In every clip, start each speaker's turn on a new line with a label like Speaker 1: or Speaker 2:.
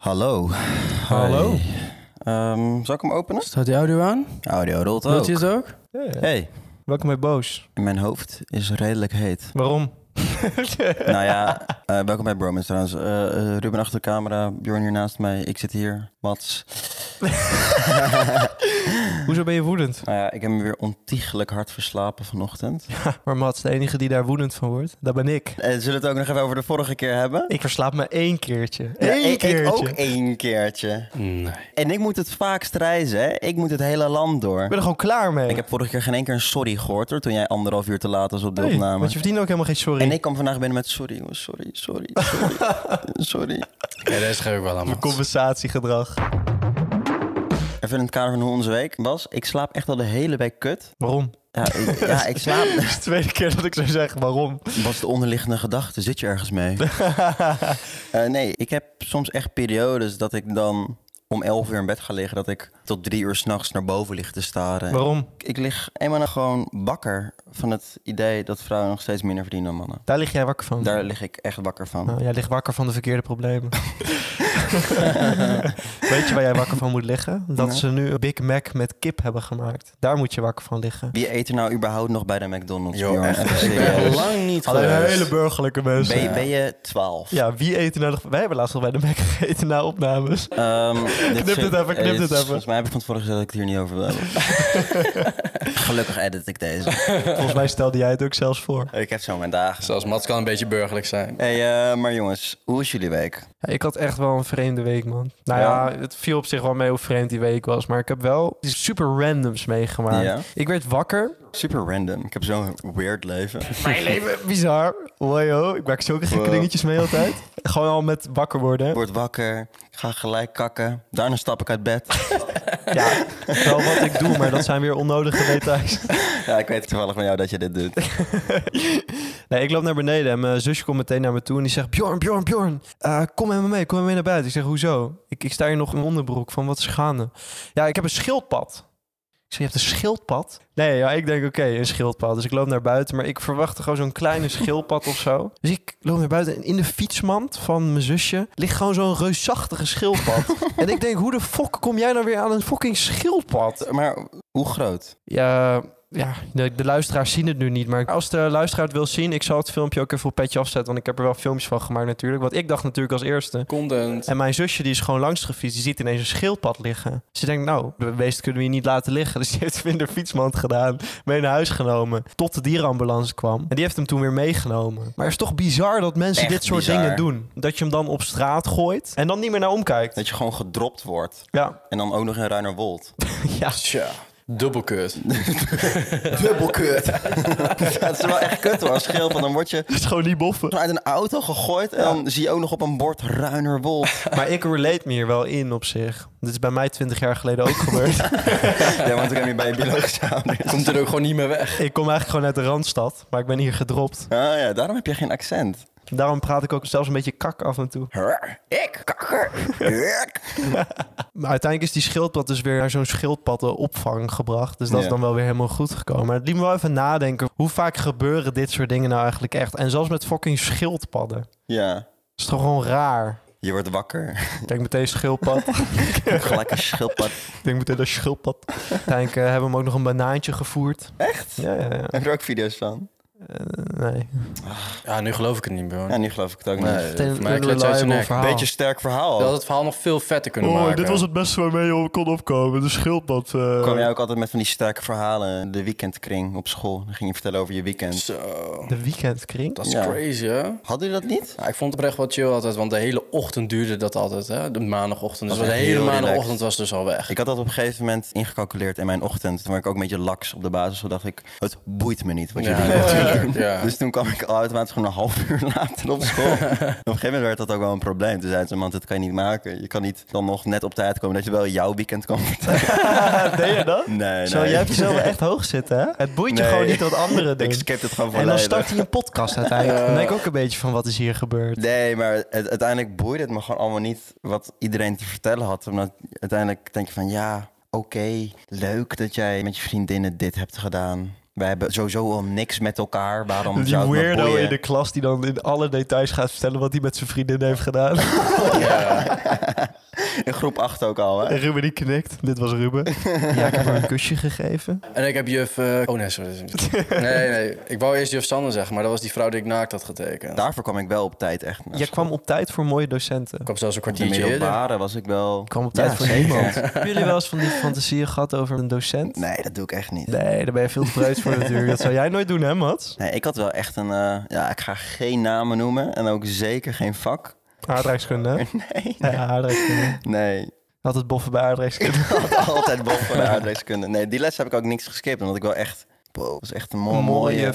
Speaker 1: Hallo.
Speaker 2: Hallo.
Speaker 1: Ehm, zal ik hem openen?
Speaker 3: Staat die audio aan?
Speaker 1: Audio rolt
Speaker 3: Wilt
Speaker 1: ook.
Speaker 3: je het ook?
Speaker 2: Ja, ja.
Speaker 1: Hey,
Speaker 2: Welkom bij Boos.
Speaker 1: mijn hoofd is redelijk heet.
Speaker 2: Waarom?
Speaker 1: nou ja, eh, welkom bij Bromance trouwens. Eh, eh, Ruben achter de camera, Bjorn hier naast mij, ik zit hier, Mats.
Speaker 2: Hoezo ben je woedend?
Speaker 1: Nou ja, ik heb me weer ontiegelijk hard verslapen vanochtend.
Speaker 2: Maar Mats, de enige die daar woedend van wordt, dat ben ik.
Speaker 1: Eh, zullen we het ook nog even over de vorige keer hebben?
Speaker 2: Ik verslaap me één keertje.
Speaker 1: Ja,
Speaker 2: Eén
Speaker 1: ik- ik
Speaker 2: keertje.
Speaker 1: ook één keertje.
Speaker 3: Nee.
Speaker 1: En ik moet het vaakst reizen, hè? Ik moet het hele land door.
Speaker 2: Ik ben er gewoon klaar mee.
Speaker 1: Ik heb vorige keer geen één keer een sorry gehoord, hoor. Toen jij anderhalf uur te laat was op de
Speaker 2: Nee,
Speaker 1: opname.
Speaker 2: want je verdient ook helemaal geen sorry.
Speaker 1: En ik kwam vandaag binnen met sorry, jongens, sorry, sorry, sorry, sorry.
Speaker 3: Ja, deze geef ik wel aan.
Speaker 2: Mijn
Speaker 3: Mats.
Speaker 2: compensatiegedrag.
Speaker 1: Even in het kader van hoe onze week was, ik slaap echt al de hele week kut.
Speaker 2: Waarom?
Speaker 1: Ja, ik, ja, ik slaap.
Speaker 2: Dat is de tweede keer dat ik zou zeggen waarom.
Speaker 1: Was de onderliggende gedachte, zit je ergens mee? Eh, nee, ik heb soms echt periodes dat ik dan om 11 uur in bed ga liggen, dat ik tot drie uur s'nachts naar boven lig te staren.
Speaker 2: waarom?
Speaker 1: Ik, ik lig eenmaal nog gewoon bakker van het idee dat vrouwen nog steeds minder verdienen dan mannen.
Speaker 2: Daar lig jij wakker
Speaker 3: Oh.
Speaker 2: van.
Speaker 1: Daar lig ik echt wakker van.
Speaker 3: Ah,
Speaker 2: Nou, jij ligt wakker van de verkeerde problemen. Weet je waar jij wakker van moet liggen? Dat
Speaker 1: Nou.
Speaker 2: ze nu een Big Mac met kip hebben gemaakt. Daar moet je wakker van liggen.
Speaker 1: Wie eet er nou überhaupt nog bij de McDonald's?
Speaker 3: Yo,
Speaker 1: Bjorn?
Speaker 3: echt,
Speaker 1: Even
Speaker 3: ik ben
Speaker 1: serieus.
Speaker 3: al lang niet
Speaker 2: Alleen
Speaker 3: geweest.
Speaker 2: hele burgerlijke mensen.
Speaker 1: Ben je, ben je 12?
Speaker 2: Ja, wie eten nou nog... Wij hebben laatst nog bij de Mac gegeten na opnames.
Speaker 1: Ehm,
Speaker 2: Knip dit
Speaker 1: zit-
Speaker 2: even, knip
Speaker 1: eh,
Speaker 2: dit even.
Speaker 1: Volgens mij heb ik van tevoren gezegd dat ik het hier niet over wil hebben. Gelukkig edit ik deze.
Speaker 2: Volgens mij stelde jij het ook zelfs voor.
Speaker 1: Ik heb zo mijn dagen.
Speaker 3: Zelfs Mats kan een beetje burgerlijk zijn.
Speaker 1: Hey, eh, maar jongens, hoe is jullie week?
Speaker 2: Ja, ik had echt wel een vreemde week, man. Nou ja. het viel op zich wel mee hoe vreemd die week was. Maar ik heb wel iets super randoms meegemaakt.
Speaker 1: Ja.
Speaker 2: Ik werd wakker.
Speaker 1: Super random. Ik heb zo'n weird leven.
Speaker 2: Mijn leven bizar. Hoi ho, ik maak zulke gekke
Speaker 1: Wow.
Speaker 2: dingetjes mee altijd. Gewoon al met wakker worden.
Speaker 1: Ik
Speaker 2: hè.
Speaker 1: word wakker, ik ga gelijk kakken. Daarna stap ik uit bed.
Speaker 2: Ja, wel wat ik doe, maar dat zijn weer onnodige details.
Speaker 1: Ja, ik weet toevallig van jou dat je dit doet.
Speaker 2: Nee, ik loop naar beneden en mijn zusje komt meteen naar me toe en die zegt... Bjorn, Bjorn, Bjorn, eh, kom met me mee, kom met me mee naar buiten. Ik zeg, hoezo? Ik, ik sta hier nog in mijn onderbroek van, wat is gaande? Ja, ik heb een schildpad. Ik zeg, je hebt een schildpad? Nee, ja, ik denk, oké, een schildpad. Dus ik loop naar buiten, maar ik verwachtte gewoon zo'n kleine schildpad of zo. Dus ik loop naar buiten en in de fietsmand van mijn zusje ligt gewoon zo'n reusachtige schildpad. en ik denk, hoe de fuck kom jij nou weer aan een fucking schildpad?
Speaker 1: Maar hoe groot?
Speaker 2: Ja, ja de, de luisteraars zien het nu niet. Maar als de luisteraar het wil zien, ik zal het filmpje ook even op petje afzetten. Want ik heb er wel filmpjes van gemaakt natuurlijk. Want ik dacht natuurlijk als eerste.
Speaker 3: Condent.
Speaker 2: En mijn zusje die is gewoon langs gefietst. Die ziet ineens een schildpad liggen. Ze denkt, nou, de beest kunnen we hier niet laten liggen. Dus die heeft hem in de fietsmand gedaan. Mee naar huis genomen. Tot de dierenambulance kwam. En die heeft hem toen weer meegenomen. Maar het is toch bizar dat mensen
Speaker 1: Echt
Speaker 2: dit soort
Speaker 1: bizar.
Speaker 2: dingen doen. Dat je hem dan op straat gooit. En dan niet meer naar omkijkt.
Speaker 1: Dat je gewoon gedropt wordt.
Speaker 2: Ja,
Speaker 1: En dan ook nog in Ruinerwold.
Speaker 2: ja.
Speaker 3: Tja, dubbel kut.
Speaker 1: Dubbel kut. dat is wel echt kut hoor. Als schil van dan word je
Speaker 2: Het is gewoon niet boffen.
Speaker 1: uit een auto gegooid. En dan zie je ook nog op een bord Ruinerwold.
Speaker 2: Maar ik relate me hier wel in op zich. Dit is bij mij twintig jaar geleden ook gebeurd.
Speaker 1: Ja, want ik ben nu bij je biologische ouders.
Speaker 3: Komt er ook gewoon niet meer weg.
Speaker 2: ik kom eigenlijk gewoon uit de Randstad, maar ik ben hier gedropt.
Speaker 1: Ah ja, daarom heb je geen accent.
Speaker 2: Daarom praat ik ook zelfs een beetje kak af en toe.
Speaker 1: Hur, ik, kakker. hurk.
Speaker 2: Maar uiteindelijk is die schildpad dus weer naar zo'n schildpaddenopvang gebracht. Dus dat
Speaker 1: Ja.
Speaker 2: is dan wel weer helemaal goed gekomen. Maar het liet me wel even nadenken. Hoe vaak gebeuren dit soort dingen nou eigenlijk echt? En zelfs met fucking schildpadden. Dat
Speaker 1: Ja,
Speaker 2: is toch gewoon raar?
Speaker 1: je wordt wakker.
Speaker 2: Ik denk meteen schildpad.
Speaker 1: Gelijk een schildpad.
Speaker 2: ik denk meteen dat schildpad. Uiteindelijk eh, hebben we hem ook nog een banaantje gevoerd.
Speaker 1: Echt?
Speaker 2: Ja, ja, ja.
Speaker 1: Heb je er ook video's van?
Speaker 2: Eh, nee.
Speaker 3: Ja, nu geloof ik het niet meer hoor.
Speaker 1: Ja, nu geloof ik het ook niet.
Speaker 3: Nee,
Speaker 2: Meteen
Speaker 3: voor mij
Speaker 2: een
Speaker 3: kletst hij uit zijn
Speaker 2: reliable
Speaker 3: nek.
Speaker 2: verhaal.
Speaker 1: Beetje sterk verhaal.
Speaker 3: Dat had het verhaal nog veel vetter kunnen
Speaker 2: Oh,
Speaker 3: maken.
Speaker 2: het beste waarmee je kon opkomen. Dus De schildpad.
Speaker 3: eh,
Speaker 1: Kwam jij ook altijd met van die sterke verhalen? De weekendkring op school. Dan ging je vertellen over je weekend.
Speaker 3: Zo,
Speaker 2: De weekendkring?
Speaker 3: dat is
Speaker 1: Ja.
Speaker 3: crazy hè.
Speaker 1: Hadden jullie dat niet?
Speaker 3: Ja, ik vond het oprecht wel chill altijd, want de hele ochtend duurde dat altijd, hè? De maandagochtend. Dus
Speaker 1: Dat
Speaker 3: de
Speaker 1: was
Speaker 3: hele
Speaker 1: heel
Speaker 3: maandagochtend was dus al weg.
Speaker 1: Ik had dat op een gegeven moment ingecalculeerd in mijn ochtend. Toen werd ik ook een beetje laks op de basis. Toen dacht ik, het boeit me niet wat jullie doen.
Speaker 3: ja.
Speaker 1: Dus toen kwam ik al automatisch gewoon een half uur later op school. op een gegeven moment werd dat ook wel een probleem. Toen zeiden ze, man, dit kan je niet maken. Je kan niet dan nog net op tijd komen dat je wel jouw weekend kan vertellen.
Speaker 2: deed je dat?
Speaker 1: Nee, nee.
Speaker 2: Zo, jij hebt jezelf wel echt hoog zitten, hè? Het boeit je
Speaker 1: Nee.
Speaker 2: gewoon niet wat anderen doen.
Speaker 1: Ik skip het gewoon
Speaker 2: En dan
Speaker 1: volledig.
Speaker 2: start hij een podcast uiteindelijk. Dan denk ik ook een beetje van, wat is hier gebeurd?
Speaker 1: Nee, maar het, uiteindelijk boeide het me gewoon allemaal niet wat iedereen te vertellen had. Omdat uiteindelijk denk je van, ja, oké, leuk dat jij met je vriendinnen dit hebt gedaan. wij hebben sowieso al niks met elkaar. Waarom
Speaker 2: Die
Speaker 1: zou het me
Speaker 2: weirdo
Speaker 1: boeien?
Speaker 2: in de klas die dan in alle details gaat vertellen wat hij met zijn vriendin heeft gedaan.
Speaker 1: In groep 8 ook al, hè?
Speaker 2: En Ruben die knikt. Dit was Ruben. Ja, ik heb haar een kusje gegeven.
Speaker 3: En ik heb juf... eh, oh nee, sorry. dat is niet- Nee, nee. Ik wou eerst juf Sander zeggen, maar dat was die vrouw die ik naakt had getekend.
Speaker 1: Daarvoor kwam ik wel op tijd echt. naar
Speaker 2: Jij
Speaker 1: school.
Speaker 2: kwam op tijd voor mooie docenten.
Speaker 3: Ik kwam zelfs een
Speaker 1: de
Speaker 3: kwartiertje eerder.
Speaker 1: middelbare was ik wel...
Speaker 2: Ik kwam op tijd
Speaker 1: Ja,
Speaker 2: voor
Speaker 1: zeker.
Speaker 2: niemand. Hebben jullie wel eens van die fantasieën gehad over een docent?
Speaker 1: Nee, dat doe ik echt niet.
Speaker 2: Nee, daar ben je veel te breed voor natuurlijk. Dat zou jij nooit doen, hè Mats?
Speaker 1: Nee, ik had wel echt een... eh, ja, ik ga geen namen noemen en ook zeker geen vak.
Speaker 2: Aardrijkskunde. hè?
Speaker 1: Nee,
Speaker 2: Ja, aardrijkskunde.
Speaker 1: nee.
Speaker 2: Altijd boffen bij aardrijkskunde.
Speaker 1: Ik had altijd boven de aardrijkskunde. Nee, die les heb ik ook niks geskipt, omdat ik wel echt... Wow, dat was echt een Oh, mooie...
Speaker 2: mooie,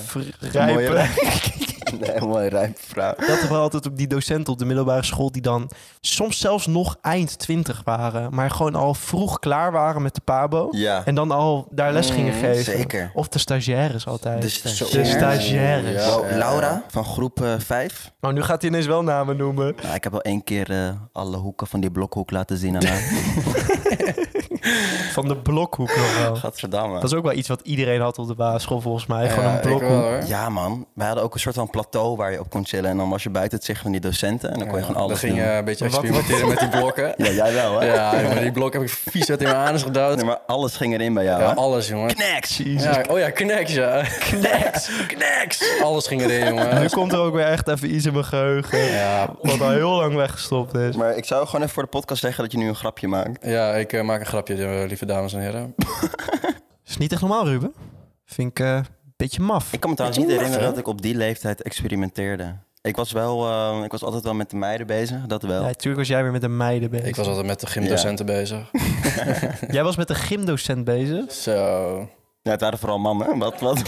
Speaker 1: mooie
Speaker 2: vrijpe.
Speaker 1: nee, een mooie rijpe vrouw.
Speaker 2: Dat er wel altijd op die docenten op de middelbare school die dan soms zelfs nog eind twintig waren, maar gewoon al vroeg klaar waren met de pabo.
Speaker 1: Ja.
Speaker 2: En dan al daar les gingen
Speaker 1: Mm,
Speaker 2: geven.
Speaker 1: zeker. Dus
Speaker 2: Of de stagiaires altijd.
Speaker 1: De
Speaker 2: De
Speaker 1: stagiaires.
Speaker 2: stagiaires.
Speaker 3: Ja.
Speaker 1: Wow, Laura van groep 5.
Speaker 2: Nou, nu gaat hij ineens wel namen noemen.
Speaker 1: Nou, ik heb wel één keer eh, alle hoeken van die blokhoek laten zien aan haar.
Speaker 2: Van de blokhoek nog wel.
Speaker 1: Gadverdamme.
Speaker 2: Dat is ook wel iets wat iedereen had op de basisschool volgens mij.
Speaker 3: Ja,
Speaker 2: Gewoon een
Speaker 3: ik wel,
Speaker 2: blokhoek.
Speaker 3: hoor.
Speaker 1: Ja man, wij hadden ook een soort van plateau waar je op kon chillen. En dan was je buiten het zicht van die docenten. En dan kon je gewoon
Speaker 3: Dan
Speaker 1: alles
Speaker 3: ging
Speaker 1: doen.
Speaker 3: je een beetje
Speaker 2: Wat- wat-
Speaker 3: experimenteren met die blokken.
Speaker 1: Ja, jij wel hè?
Speaker 3: Ja, maar die blok heb ik vies uit in mijn anus gedouwd.
Speaker 1: Nee, maar alles ging erin bij jou
Speaker 3: Ja,
Speaker 1: hè?
Speaker 3: alles, jongen.
Speaker 1: Knacks!
Speaker 3: Ja, oh ja, Knex, ja. Knex, Knex. Alles ging erin,
Speaker 2: Nu
Speaker 3: jongen.
Speaker 2: komt er ook weer echt even iets in mijn geheugen.
Speaker 3: Ja,
Speaker 2: Wat al heel lang weggestopt is.
Speaker 1: Maar ik zou gewoon even voor de podcast zeggen dat je nu een grapje maakt.
Speaker 3: ja ik eh, maak een grapje, eh, lieve dames en heren.
Speaker 2: Is niet echt normaal, Ruben. Vind ik eh, een beetje maf.
Speaker 1: Ik kan me trouwens
Speaker 3: Ja,
Speaker 1: niet
Speaker 3: lach,
Speaker 1: herinneren
Speaker 3: hè?
Speaker 1: dat ik op die leeftijd experimenteerde. Ik was wel, eh, ik was altijd wel met de meiden bezig, dat
Speaker 2: Ja,
Speaker 1: wel.
Speaker 2: natuurlijk was jij weer met de meiden bezig.
Speaker 3: Ik was altijd met de gymdocenten bezig.
Speaker 2: Jij was met de gymdocent bezig.
Speaker 3: Zo.
Speaker 1: Ja, het waren vooral mannen. Wat, wat?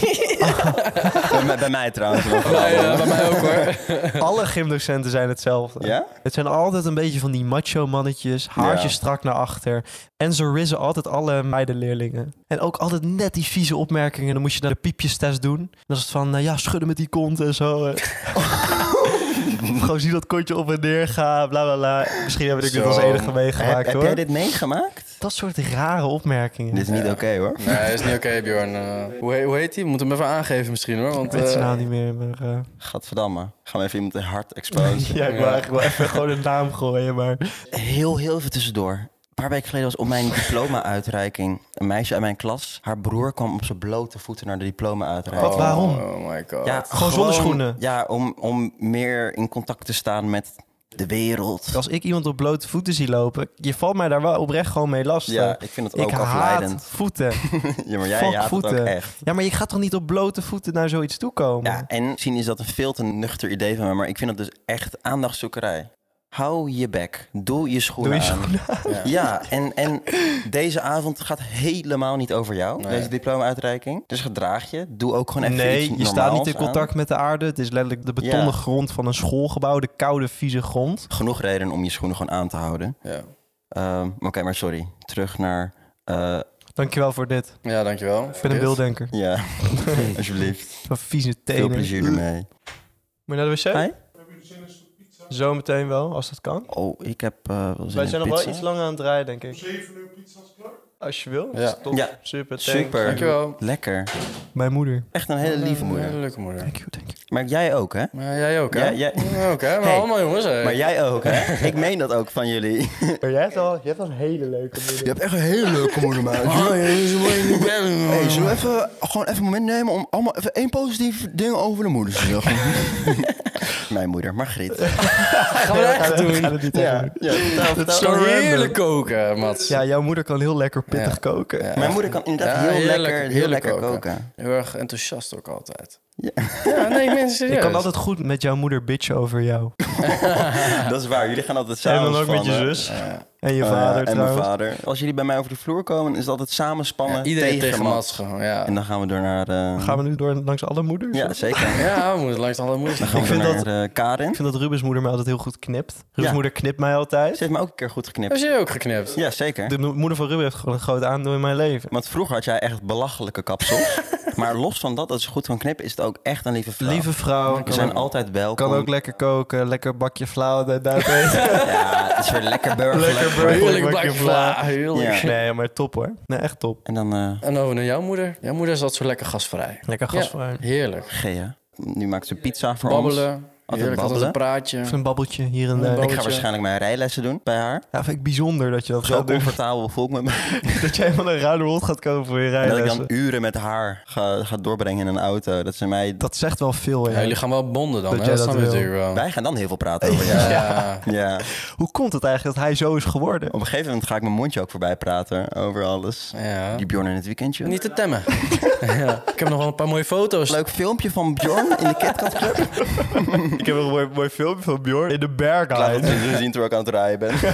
Speaker 1: bij, mij- bij mij trouwens. wel vooral
Speaker 3: Bij, eh,
Speaker 1: mannen.
Speaker 3: bij mij ook, hoor.
Speaker 2: Alle gymdocenten zijn hetzelfde.
Speaker 1: Ja?
Speaker 2: Het zijn altijd een beetje van die macho mannetjes. Haartjes
Speaker 1: Ja.
Speaker 2: strak naar achter. En ze rizzen altijd alle meidenleerlingen. En ook altijd net die vieze opmerkingen. Dan moest je naar de piepjestest doen. En dan is het van, eh, ja, schudden met die kont en zo. eh. Gewoon zie dat kontje op en neer gaan, bla bla bla. Misschien heb ik dit
Speaker 3: Zo.
Speaker 2: als enige meegemaakt
Speaker 1: Heb, heb
Speaker 2: hoor.
Speaker 1: jij dit meegemaakt?
Speaker 2: Dat soort rare opmerkingen.
Speaker 1: Dit is niet oké hoor.
Speaker 3: Nee, is niet oké, Bjorn. Eh, hoe, he- hoe heet die? Moet hem even aangeven misschien, hoor.
Speaker 2: Ik
Speaker 3: Want,
Speaker 2: weet zijn
Speaker 3: eh,
Speaker 2: naam niet meer, maar... eh,
Speaker 1: Gadverdamme. Gaan we even iemand hard exposen.
Speaker 2: ja, ik wil
Speaker 3: Ja.
Speaker 2: eigenlijk wel even gewoon een naam gooien, maar...
Speaker 1: heel, heel even tussendoor. Een paar weken geleden was op mijn diploma-uitreiking een meisje uit mijn klas. Haar broer kwam op zijn blote voeten naar de diploma-uitreiking.
Speaker 2: Wat, waarom?
Speaker 3: Oh my god.
Speaker 1: Ja,
Speaker 2: Gewoon zonder schoenen?
Speaker 1: Ja, om, om meer in contact te staan met de wereld.
Speaker 2: Als ik iemand op blote voeten zie lopen, je valt mij daar wel oprecht gewoon mee lastig.
Speaker 1: Ja, ik vind het
Speaker 2: ik
Speaker 1: ook
Speaker 2: haat
Speaker 1: afleidend.
Speaker 2: voeten.
Speaker 1: Ja, maar jij
Speaker 2: Fuck
Speaker 1: haat het ook
Speaker 2: voeten.
Speaker 1: echt.
Speaker 2: Ja, maar je gaat toch niet op blote voeten naar zoiets toe komen?
Speaker 1: Ja, en misschien is dat een veel te nuchter idee van mij, maar ik vind dat dus echt aandachtzoekerij. Hou je bek. Doe je schoenen
Speaker 2: Doe je
Speaker 1: aan. Ja, en, en deze avond gaat helemaal niet over jou,
Speaker 3: Nee.
Speaker 1: deze diploma-uitreiking. Dus gedraag je. Doe ook gewoon even iets
Speaker 2: Nee, je staat niet
Speaker 1: normaals
Speaker 2: in contact met de aarde. Het is letterlijk de betonnen
Speaker 1: Ja.
Speaker 2: grond van een schoolgebouw, de koude, vieze grond.
Speaker 1: aan. Genoeg reden om je schoenen gewoon aan te houden.
Speaker 3: Ja.
Speaker 1: Ehm, Oké, maar sorry. Terug naar... eh,
Speaker 2: Dankjewel voor dit.
Speaker 3: ja, dankjewel.
Speaker 2: Ik ben een beelddenker.
Speaker 1: ja, alsjeblieft.
Speaker 2: Van vieze tenen.
Speaker 1: Veel plezier ermee.
Speaker 2: Moet je naar de wc?
Speaker 1: Hey?
Speaker 2: Zometeen wel, als dat kan.
Speaker 1: Oh, ik heb eh wel zin
Speaker 2: Wij
Speaker 1: in
Speaker 2: zijn nog
Speaker 1: pizza.
Speaker 2: wel iets langer aan het draaien, denk ik. 7 uur pizza's klaar? Als je wil.
Speaker 3: Ja.
Speaker 2: Dat is top.
Speaker 1: Ja.
Speaker 2: Super, thanks.
Speaker 1: Super.
Speaker 3: Dankjewel.
Speaker 1: Lekker.
Speaker 2: Mijn moeder.
Speaker 1: Echt een hele
Speaker 2: Eh,
Speaker 1: lieve moeder.
Speaker 3: Hele leuke moeder.
Speaker 2: Thank you, thank you.
Speaker 1: Maar jij ook, hè?
Speaker 3: Maar jij ook, hè?
Speaker 1: Ja, jij-
Speaker 3: Ja, Oké, maar
Speaker 1: Hey.
Speaker 3: allemaal jongens, hè?
Speaker 1: Maar jij ook, hè? Ik meen dat ook van jullie.
Speaker 2: Maar jij hebt al, jij hebt al een hele leuke moeder.
Speaker 1: Je hebt echt een hele leuke moeder, man.
Speaker 3: Oh,
Speaker 1: Hey, zullen we even, gewoon even een moment nemen om allemaal even één positief ding over de moeder te zeggen? Mijn moeder, Margriet.
Speaker 3: gaan we dat echt
Speaker 2: Ik ga
Speaker 3: doen?
Speaker 2: het niet aan doen.
Speaker 1: Ja, vertel, vertel.
Speaker 3: Zo
Speaker 2: Random.
Speaker 3: heerlijk koken, Mats.
Speaker 2: Ja, jouw moeder kan heel lekker pittig
Speaker 3: Ja.
Speaker 2: koken.
Speaker 3: Ja.
Speaker 1: Mijn moeder kan inderdaad
Speaker 3: Ja,
Speaker 1: heel
Speaker 3: heerlijk-
Speaker 1: lekker, heel
Speaker 3: heerlijk
Speaker 1: lekker
Speaker 3: koken.
Speaker 1: koken.
Speaker 3: Heel erg enthousiast ook altijd.
Speaker 1: Ja.
Speaker 3: Ja, nee, mensen serieus.
Speaker 2: Ik kan altijd goed met jouw moeder bitchen over jou.
Speaker 1: Dat is waar, jullie gaan altijd
Speaker 2: En
Speaker 1: samen.
Speaker 2: dan ook met je zus.
Speaker 3: eh,
Speaker 2: En je
Speaker 1: Oh ja,
Speaker 2: vader
Speaker 1: en mijn
Speaker 2: trouwens.
Speaker 1: vader. Als jullie bij mij over de vloer komen, is het altijd samen spannen
Speaker 3: Ja, iedereen tegen,
Speaker 1: Mats.
Speaker 3: Mats gewoon, ja.
Speaker 1: En dan gaan we door naar... eh,
Speaker 2: Gaan we nu door langs alle moeders?
Speaker 1: Ja, zeker. Dan
Speaker 3: Ja, we moeten langs alle moeders.
Speaker 1: gaan we
Speaker 2: Ik vind
Speaker 1: door
Speaker 2: dat-
Speaker 1: naar eh, Karin.
Speaker 2: Ik vind dat Rubens moeder mij altijd heel goed knipt. Rubens
Speaker 1: Ja.
Speaker 2: moeder knipt mij altijd.
Speaker 1: Ze heeft me ook een keer goed geknipt.
Speaker 3: Heb jij ook geknipt?
Speaker 1: Ja, zeker.
Speaker 2: Dus- De mo- moeder van Ruben heeft gewoon een groot aandeel in mijn leven.
Speaker 1: Want vroeger had jij echt belachelijke kapsels. Maar los van dat, dat ze goed kan knippen, is het ook echt een lieve vrouw.
Speaker 2: Lieve vrouw.
Speaker 1: We
Speaker 2: Kan,
Speaker 1: zijn
Speaker 2: ook,
Speaker 1: altijd welkom.
Speaker 2: kan ook lekker koken. Lekker bakje flauw. daar- daar eten.
Speaker 1: Ja, het is weer lekker burgerlijk.
Speaker 2: Lekker burgerlijk.
Speaker 3: Heerlijk
Speaker 2: bakje
Speaker 3: bakje vla, heerlijk.
Speaker 1: Ja.
Speaker 2: nee, maar top hoor. Nee, echt top.
Speaker 1: En dan eh
Speaker 3: En over naar jouw moeder. Jouw moeder is altijd zo lekker gasvrij.
Speaker 2: Lekker gasvrij.
Speaker 3: Ja, heerlijk.
Speaker 1: Gea. Nu maakt ze pizza voor ons.
Speaker 3: Babbelen. heerlijk, altijd
Speaker 1: babbelen.
Speaker 3: een praatje.
Speaker 2: Even een babbeltje hier en daar.
Speaker 3: Een
Speaker 1: Ik
Speaker 3: babbel-
Speaker 1: ga waarschijnlijk mijn rijlessen doen bij haar.
Speaker 2: Ja, vind ik bijzonder dat je dat
Speaker 1: Zo
Speaker 2: gaat doen.
Speaker 1: comfortabel voel ik me.
Speaker 2: Dat jij helemaal een ruile rond gaat komen voor je
Speaker 1: En dat ik dan
Speaker 2: rijlessen.
Speaker 1: uren met haar ga, ga doorbrengen in een auto. Dat ze mij...
Speaker 2: Dat zegt wel veel.
Speaker 3: Ja,
Speaker 2: Ja.
Speaker 3: jullie gaan wel bonden dan,
Speaker 2: Dat
Speaker 3: hè?
Speaker 2: jij
Speaker 3: Dat
Speaker 2: dat
Speaker 3: snap je
Speaker 2: wil.
Speaker 3: natuurlijk wel.
Speaker 1: Wij gaan dan heel veel praten over jou.
Speaker 3: Ja.
Speaker 1: Ja.
Speaker 2: Hoe komt het eigenlijk dat hij zo is geworden?
Speaker 1: Op een gegeven moment ga ik mijn mondje ook voorbij praten over alles.
Speaker 3: ja.
Speaker 1: Die Bjorn in het weekendje.
Speaker 3: Niet te temmen. ja. Ik heb nog wel een paar mooie foto's.
Speaker 1: Leuk filmpje van Bjorn in de KitKat Club.
Speaker 2: Ik heb een mooi, mooi filmpje van Bjorn in de Berghain.
Speaker 1: Ze zien terwijl ik aan het rijden ben.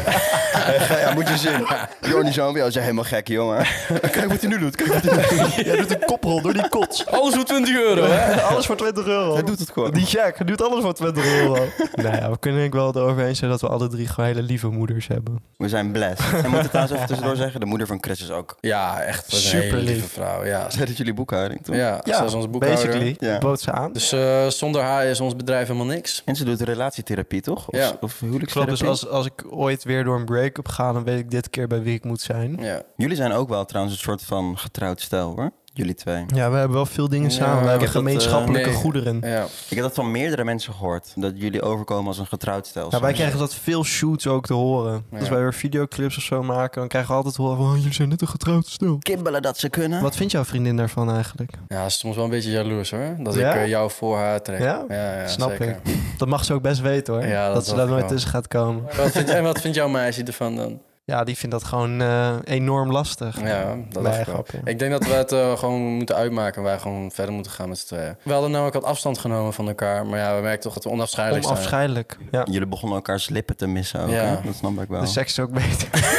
Speaker 1: ja, moet je zien. Bjorn die zoon bij jou is helemaal gek, jongen. Kijk wat hij nu doet. Kijk wat hij nu doet.
Speaker 2: Jij doet een koprol door die kots.
Speaker 3: Alles voor 20 Oh, euro, hè?
Speaker 2: Alles voor 20 euro.
Speaker 1: Hij doet het gewoon.
Speaker 2: Die Jack doet alles voor 20 euro. nou ja, we kunnen denk ik wel erover eens zijn dat we alle drie gewoon hele lieve moeders hebben.
Speaker 1: We zijn blessed. En moet ik trouwens even tussendoor zeggen, de moeder van Chris is ook...
Speaker 3: Ja, echt. Dat is een
Speaker 2: Super
Speaker 3: hele lieve
Speaker 2: lief.
Speaker 3: vrouw. Ja,
Speaker 1: Zij dat jullie boekhouding, toch?
Speaker 3: ja, ze is onze boekhouder.
Speaker 2: Basically,
Speaker 1: Ja.
Speaker 2: bood ze aan.
Speaker 3: Dus eh, zonder haar is ons bedrijf helemaal niks.
Speaker 1: En ze doet relatietherapie, toch? Of,
Speaker 3: Ja.
Speaker 1: of
Speaker 2: ik geloof
Speaker 1: huwelijkstherapie?
Speaker 2: dus als, als ik ooit weer door een break-up ga, dan weet ik dit keer bij wie ik moet zijn.
Speaker 3: Ja.
Speaker 1: Jullie zijn ook wel trouwens een soort van getrouwd stijl, hoor. Jullie twee.
Speaker 2: Ja, we hebben wel veel dingen
Speaker 3: Ja,
Speaker 2: samen. We
Speaker 3: ik
Speaker 2: hebben
Speaker 1: heb dat, eh,
Speaker 2: gemeenschappelijke
Speaker 3: nee.
Speaker 2: goederen.
Speaker 3: ja.
Speaker 1: Ik heb dat van meerdere mensen gehoord. Dat jullie overkomen als een getrouwd stijl.
Speaker 2: Ja, Nou, wij krijgen dat veel shoots ook te horen.
Speaker 3: Ja.
Speaker 2: Als wij weer videoclips of zo maken, dan krijgen we altijd te horen van... "Oh, jullie zijn net een getrouwd stil.
Speaker 1: Kibbelen dat ze kunnen.
Speaker 2: Wat vindt jouw vriendin daarvan eigenlijk?
Speaker 3: Ja, ze is soms wel een beetje jaloers hoor. Dat
Speaker 2: Ja?
Speaker 3: ik eh, jou voor haar trek.
Speaker 2: Ja?
Speaker 3: ja, ja,
Speaker 2: Snap
Speaker 3: zeker.
Speaker 2: ik. Dat mag ze ook best weten hoor.
Speaker 3: Ja,
Speaker 2: dat,
Speaker 3: dat
Speaker 2: ze
Speaker 3: dacht
Speaker 2: daar
Speaker 3: ik
Speaker 2: nooit
Speaker 3: wel.
Speaker 2: tussen gaat komen.
Speaker 3: Wat vind, en wat vindt jouw meisje ervan dan?
Speaker 2: Ja, die vindt dat gewoon eh, enorm lastig.
Speaker 3: Ja,
Speaker 2: Nee,
Speaker 3: dat dacht ik wel.
Speaker 2: grapje.
Speaker 3: Ik denk dat we het eh, gewoon moeten uitmaken en wij gewoon verder moeten gaan met z'n tweeën. We hadden namelijk wat afstand genomen van elkaar, maar ja, we merken toch dat we onafscheidelijk zijn.
Speaker 2: Onafscheidelijk. Ja.
Speaker 1: Jullie begonnen elkaars lippen te missen ook,
Speaker 3: Ja.
Speaker 1: hè? Dat snap ik wel.
Speaker 2: De seks is ook beter.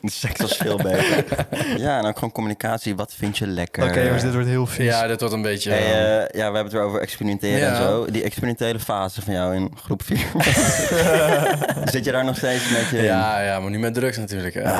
Speaker 1: De seks was veel beter. ja, en ook gewoon communicatie. Wat vind je lekker?
Speaker 2: Oké jongens, dit wordt heel vies.
Speaker 3: Ja, dit wordt een beetje...
Speaker 1: Hey,
Speaker 3: eh,
Speaker 1: eh, ja, we hebben het weer over experimenteren
Speaker 3: Ja.
Speaker 1: en zo. Die experimentele fase van jou in groep 4. Zit je daar nog steeds met je in? Ah,
Speaker 3: ja, Ah. ja, maar nu met drugs natuurlijk. Hè.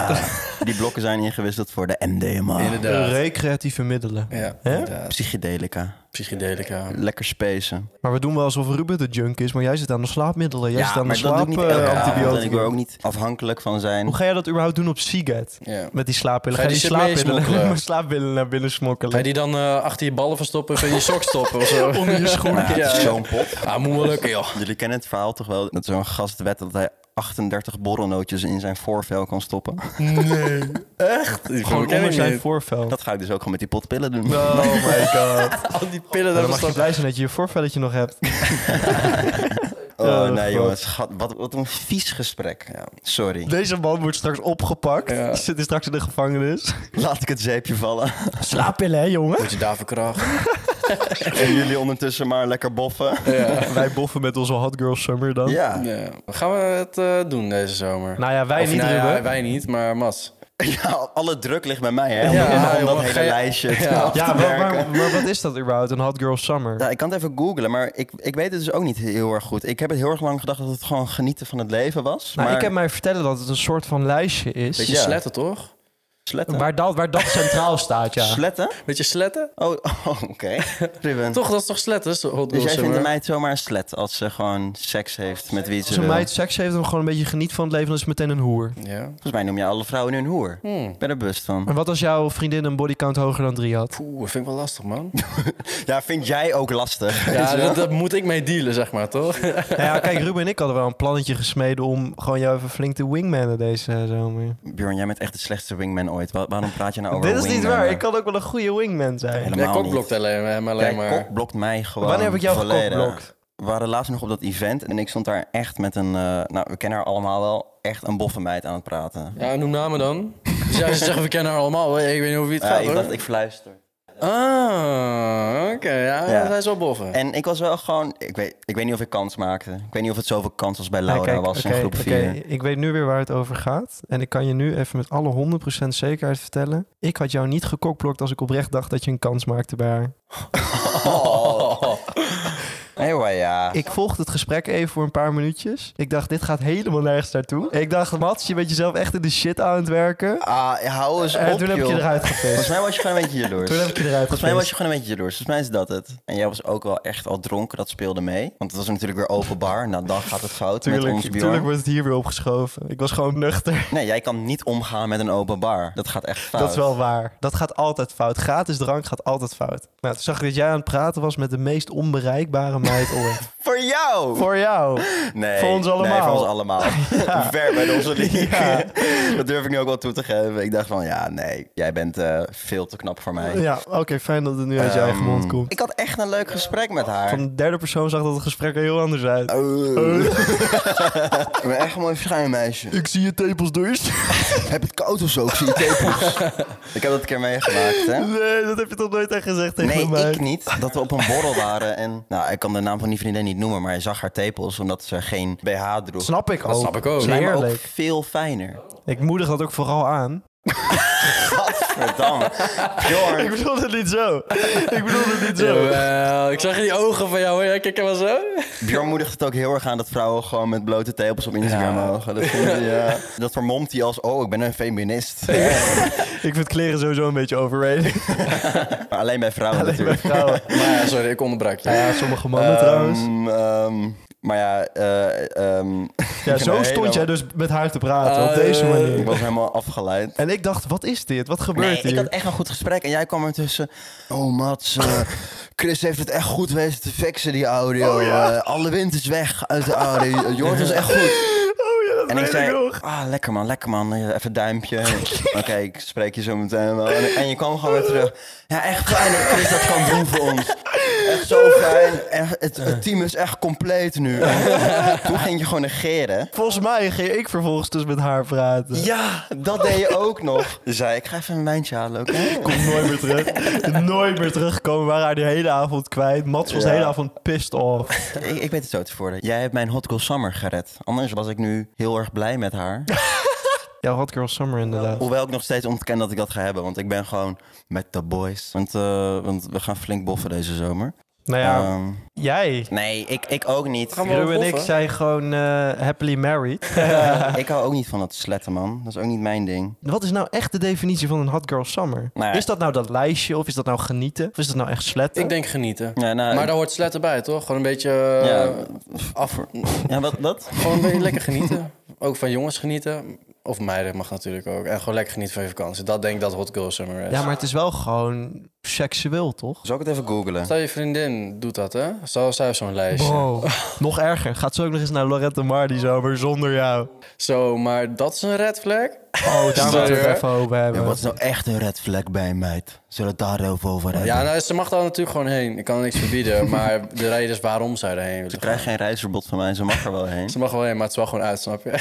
Speaker 1: Die blokken zijn ingewisseld voor de MDMA.
Speaker 3: Inderdaad.
Speaker 2: Recreatieve middelen.
Speaker 3: Ja,
Speaker 2: Hè?
Speaker 3: inderdaad.
Speaker 1: Psychedelica.
Speaker 3: Psychedelica.
Speaker 1: Lekker spacen.
Speaker 2: Maar we doen wel alsof Ruben de junk is, maar jij zit aan de slaapmiddelen. Jij zit aan de
Speaker 1: maar dat doe ik niet elke avond. En ik
Speaker 2: slaapantibiotica.
Speaker 1: wil er ook niet afhankelijk van zijn.
Speaker 2: eh, Hoe ga jij dat überhaupt doen op Seagate?
Speaker 3: Ja.
Speaker 2: Met die slaappillen.
Speaker 3: Ga
Speaker 2: Ga je
Speaker 3: je
Speaker 2: die
Speaker 3: die shit mee
Speaker 2: slaappillen,
Speaker 3: smokkelen?
Speaker 2: maar slaappillen naar binnen
Speaker 3: Ga je
Speaker 2: smokkelen?
Speaker 3: die dan eh, achter je ballen verstoppen of in je sok stoppen of zo?
Speaker 2: Onder je schoen.
Speaker 1: Nou,
Speaker 3: Ja.
Speaker 1: het is zo'n pot.
Speaker 3: Ah, moet wel lukken, joh.
Speaker 1: Jullie kennen het verhaal toch wel? Dat zo'n gast wet dat hij 38 borrelnootjes in zijn voorvel kan stoppen.
Speaker 3: Nee. Echt? Die
Speaker 2: Gewoon
Speaker 3: ken
Speaker 2: onder
Speaker 3: ik
Speaker 2: zijn
Speaker 3: niet.
Speaker 2: voorvel.
Speaker 1: Dat ga ik dus ook gewoon met die potpillen doen.
Speaker 2: Oh my god.
Speaker 3: Al die pillen
Speaker 2: Dan
Speaker 3: daar
Speaker 2: mag je
Speaker 3: verstoppen.
Speaker 2: blij zijn dat je je voorvelletje nog hebt.
Speaker 1: Oh,
Speaker 2: Ja, dat
Speaker 1: nee
Speaker 2: klopt.
Speaker 1: jongens, schat, wat, wat een vies gesprek. Sorry.
Speaker 2: Deze man wordt straks opgepakt.
Speaker 3: Ja.
Speaker 2: Die Zit straks in de gevangenis.
Speaker 1: Laat ik het zeepje vallen.
Speaker 2: Slaappillen, hè, jongen?
Speaker 3: Moet je daarvoor kracht.
Speaker 1: en jullie ondertussen maar lekker boffen.
Speaker 3: Ja.
Speaker 2: Wij boffen met onze Hot Girl Summer dan.
Speaker 1: Ja.
Speaker 3: Ja. Gaan we het eh, doen deze zomer?
Speaker 2: Nou ja, wij
Speaker 3: Of,
Speaker 2: niet,
Speaker 3: nou ja,
Speaker 2: Ruben.
Speaker 3: wij niet, maar Mas.
Speaker 1: ja, alle druk ligt bij mij hè. Om,
Speaker 3: Ja,
Speaker 1: om dat
Speaker 3: jongen,
Speaker 1: hele
Speaker 3: ga je-
Speaker 1: lijstje te
Speaker 3: Ja.
Speaker 1: af te
Speaker 2: Ja, maar,
Speaker 1: werken.
Speaker 2: maar, maar wat is dat überhaupt, een Hot Girl Summer?
Speaker 1: Ja, ik kan het even googlen, maar ik, ik weet het dus ook niet heel erg goed. Ik heb het heel erg lang gedacht dat het gewoon genieten van het leven was.
Speaker 2: nou,
Speaker 1: maar
Speaker 2: ik heb mij vertellen dat het een soort van lijstje is.
Speaker 3: Beetje
Speaker 1: Ja.
Speaker 3: sletten, toch?
Speaker 1: sletten.
Speaker 2: Waar dat, waar dat centraal staat, ja.
Speaker 1: Sletten?
Speaker 3: Beetje sletten?
Speaker 1: Oh, oh, oké. Ruben.
Speaker 3: Toch, dat is toch sletten? zo- Hot
Speaker 1: Dus
Speaker 3: Wheels
Speaker 1: jij vindt een
Speaker 3: Summer?
Speaker 1: meid zomaar een slet als ze gewoon seks heeft met wie
Speaker 2: Als
Speaker 1: ze
Speaker 2: een
Speaker 1: wil?
Speaker 2: meid seks heeft en gewoon een beetje geniet van het leven, dan is het meteen een hoer.
Speaker 3: Ja.
Speaker 1: Volgens mij noem je alle vrouwen hun hoer.
Speaker 3: Hmm.
Speaker 1: Ik ben er bewust van.
Speaker 2: En wat als jouw vriendin een bodycount hoger dan drie had?
Speaker 3: Poeh, dat vind ik wel lastig, man.
Speaker 1: Ja, vind jij ook lastig?
Speaker 3: Ja, dat, dat moet ik mee dealen, zeg maar, toch?
Speaker 2: Nou ja, kijk, Ruben en ik hadden wel een plannetje gesmeden om gewoon jou even flink te wingmannen deze eh, zomer.
Speaker 1: Bjorn, jij bent echt de slechtste wingman ooit. Wa- Waarom praat je nou over
Speaker 2: Dit is niet
Speaker 1: wingman?
Speaker 2: waar. Ik kan ook wel een goede wingman zijn.
Speaker 1: Helemaal
Speaker 3: Jij
Speaker 1: niet.
Speaker 3: kokblokt alleen, hem alleen
Speaker 1: Jij
Speaker 3: maar.
Speaker 1: kokblokt mij gewoon
Speaker 2: Wanneer heb ik jou
Speaker 1: volledig.
Speaker 2: gekokblokt?
Speaker 1: We waren laatst nog op dat event en ik stond daar echt met een... eh, nou, we kennen haar allemaal wel. Echt een boffe meid aan het praten.
Speaker 3: Ja, noem namen dan. Dus ja, ze zeggen, we kennen haar allemaal. hè. Ik weet niet hoe wie het
Speaker 1: Ja,
Speaker 3: gaat,
Speaker 1: ik
Speaker 3: hoor.
Speaker 1: dacht, ik fluister.
Speaker 3: Ah, oké. ja,
Speaker 1: Ja.
Speaker 3: hij is wel boffen.
Speaker 1: En ik was wel gewoon... Ik weet, ik weet niet of ik kans maakte. Ik weet niet of het zoveel kans als bij
Speaker 2: Ja,
Speaker 1: Laura
Speaker 2: kijk,
Speaker 1: was
Speaker 2: oké,
Speaker 1: in groep
Speaker 2: oké,
Speaker 1: 4.
Speaker 2: ik weet nu weer waar het over gaat. En ik kan je nu even met alle 100% zekerheid vertellen. Ik had jou niet gekokblokt als ik oprecht dacht dat je een kans maakte bij haar.
Speaker 1: Oh. Anyway, ja.
Speaker 2: Ik volgde het gesprek even voor een paar minuutjes. Ik dacht, dit gaat helemaal nergens naartoe. Ik dacht, Mats, je bent jezelf echt in de shit aan het werken.
Speaker 1: Ah, hou eens op,
Speaker 2: En Eh, toen heb ik je
Speaker 1: joh.
Speaker 2: eruit gevist.
Speaker 1: Volgens mij was je gewoon een beetje jaloers.
Speaker 2: Toen heb ik je eruit
Speaker 1: Dus Volgens mij was
Speaker 2: gevist.
Speaker 1: je gewoon een beetje jaloers. Volgens mij is dat het. En jij was ook wel echt al dronken, dat speelde mee. Want het was natuurlijk weer open bar. Nou, dan gaat het fout met ons
Speaker 2: Tuurlijk,
Speaker 1: Bjorn.
Speaker 2: tuurlijk wordt het hier weer opgeschoven. Ik was gewoon nuchter.
Speaker 1: Nee, jij kan niet omgaan met een open bar. Dat gaat echt fout.
Speaker 2: Dat is wel waar. Dat gaat altijd fout. Gratis drank gaat altijd fout. Nou, toen zag ik dat jij aan het praten was met de meest onbereikbare meid ooit.
Speaker 1: Voor jou!
Speaker 2: Voor jou.
Speaker 1: Nee,
Speaker 2: voor ons allemaal.
Speaker 1: Nee, voor ons allemaal. Ver bij onze liefde. Dat durf ik nu ook wel toe te geven. Ik dacht van, ja, nee, jij bent eh, veel te knap voor mij.
Speaker 2: Ja, oké, fijn dat het nu uit je
Speaker 1: Ehm,
Speaker 2: eigen mond komt.
Speaker 1: Ik had echt een leuk gesprek met haar.
Speaker 2: Van de derde persoon zag dat het gesprek er heel anders uit.
Speaker 1: Oh. Ik ben echt een mooi verschijn, meisje.
Speaker 2: Ik zie je tepels dus.
Speaker 1: Heb het koud of zo? Ik zie je tepels. ik heb dat een keer meegemaakt, hè?
Speaker 2: Nee, dat heb je toch nooit echt gezegd tegen
Speaker 1: Nee,
Speaker 2: mij?
Speaker 1: ik niet. Dat we op een borrel waren en... Nou, ik kan de naam van die vriendin niet noemen, maar hij zag haar tepels omdat ze geen BH droeg.
Speaker 2: Snap ik ook.
Speaker 3: Dat snap ik ook.
Speaker 2: Is
Speaker 1: Lijkt me ook
Speaker 2: Heerlijk.
Speaker 1: veel fijner.
Speaker 2: Ik moedig dat ook vooral aan.
Speaker 1: Gadverdamme.
Speaker 2: Ik
Speaker 1: Bjorn.
Speaker 2: bedoel het niet zo. Ik bedoel het niet zo.
Speaker 3: Jawel, ik zag in die ogen van jou, hè? Kijk hem wel zo.
Speaker 1: Bjorn moedigt het ook heel erg aan dat vrouwen gewoon met blote tepels op Instagram mogen. Dat, vindt hij, ja. dat vermomt hij als, oh, ik ben een feminist.
Speaker 2: Ik vind kleren sowieso een beetje overrated.
Speaker 1: Maar alleen bij vrouwen natuurlijk.
Speaker 2: Vrouwen.
Speaker 3: Maar ja, sorry, ik onderbrak je.
Speaker 2: Ja, sommige mannen trouwens.
Speaker 1: Ehm, ehm, maar ja, eh, ehm, ik
Speaker 2: Ja,
Speaker 1: ben
Speaker 2: zo
Speaker 1: een
Speaker 2: stond jij
Speaker 1: hele-
Speaker 2: dus met haar te praten op
Speaker 3: Eh,
Speaker 2: deze
Speaker 1: Ik
Speaker 2: manier.
Speaker 1: was helemaal afgeleid.
Speaker 2: En ik dacht, wat is dit? Wat
Speaker 1: Nee,
Speaker 2: gebeurt
Speaker 1: ik had
Speaker 2: hier?
Speaker 1: echt een goed gesprek. En jij kwam er tussen. Oh, Mats. eh, Chris heeft het echt goed weten te fixen, die audio.
Speaker 2: Oh,
Speaker 1: Eh, alle wind is weg uit de audio. Je hoort ons echt goed.
Speaker 2: Oh ja, dat
Speaker 1: En ik
Speaker 2: weet ik
Speaker 1: zei,
Speaker 2: nog.
Speaker 1: ah, lekker man, lekker man. Eh, Even duimpje. Oké, ik spreek je zo meteen wel. En, en je kwam gewoon weer terug. Ja, echt fijn dat Chris dat kan doen voor ons. Echt zo fijn. Echt, het, het team is echt compleet nu. En toen ging je gewoon negeren.
Speaker 2: Volgens mij ging ik vervolgens dus met haar praten.
Speaker 1: Ja, dat deed je ook nog. Zei ik, ga even een wijntje halen, oké?
Speaker 2: Komt nooit meer terug. nooit meer terugkomen. We waren haar die hele avond kwijt. Mats was
Speaker 1: Ja.
Speaker 2: de hele avond pissed off.
Speaker 1: Ik, ik weet het zo te voeren. Jij hebt mijn Hot Girl Summer gered. Anders was ik nu heel erg blij met haar.
Speaker 2: Ja, Hot Girl Summer inderdaad.
Speaker 1: Hoewel ik nog steeds ontken dat ik dat ga hebben. Want ik ben gewoon met de boys. Want, eh, want we gaan flink boffen deze zomer.
Speaker 2: Nou ja,
Speaker 1: Ehm,
Speaker 2: jij.
Speaker 1: nee, ik, ik ook niet.
Speaker 3: Gaan we
Speaker 2: Ruben en
Speaker 3: boffen?
Speaker 2: ik zijn gewoon eh, happily married.
Speaker 1: Ik hou ook niet van dat sletten, man. Dat is ook niet mijn ding.
Speaker 2: Wat is nou echt de definitie van een hot girl summer?
Speaker 1: Nou ja.
Speaker 2: Is dat nou dat lijstje of is dat nou genieten? Of is dat nou echt sletten?
Speaker 3: Ik denk genieten.
Speaker 1: Ja, nou,
Speaker 3: Maar daar hoort sletten bij, toch? Gewoon een beetje... eh,
Speaker 1: Ja.
Speaker 3: af,
Speaker 1: ja wat, wat?
Speaker 3: gewoon een beetje lekker genieten. Ook van jongens genieten. Of meiden mag natuurlijk ook. En gewoon lekker genieten van je vakantie. Dat denk ik dat Hot Girl Summer is.
Speaker 2: Ja, maar het is wel gewoon seksueel, toch?
Speaker 1: Zal ik het even googlen?
Speaker 3: Stel je vriendin doet dat, hè? Stel zij heeft zo'n lijstje.
Speaker 2: Wow. nog erger. Gaat ze ook nog eens naar Lorette Mar die zomer zonder jou?
Speaker 3: Zo, maar dat is een red flag.
Speaker 2: Oh, daar moeten we het
Speaker 3: Sorry,
Speaker 2: even over hebben.
Speaker 1: Ja, wat is nou echt een red flag bij, meid? Zullen we het daar even over hebben?
Speaker 3: Ja, nou, ze mag daar natuurlijk gewoon heen. Ik kan er niks verbieden. maar de reden is waarom zij erheen willen.
Speaker 1: Ze krijgt geen reisverbod van mij, ze mag er wel heen.
Speaker 3: Ze mag wel heen, maar het is wel gewoon uit, snap je?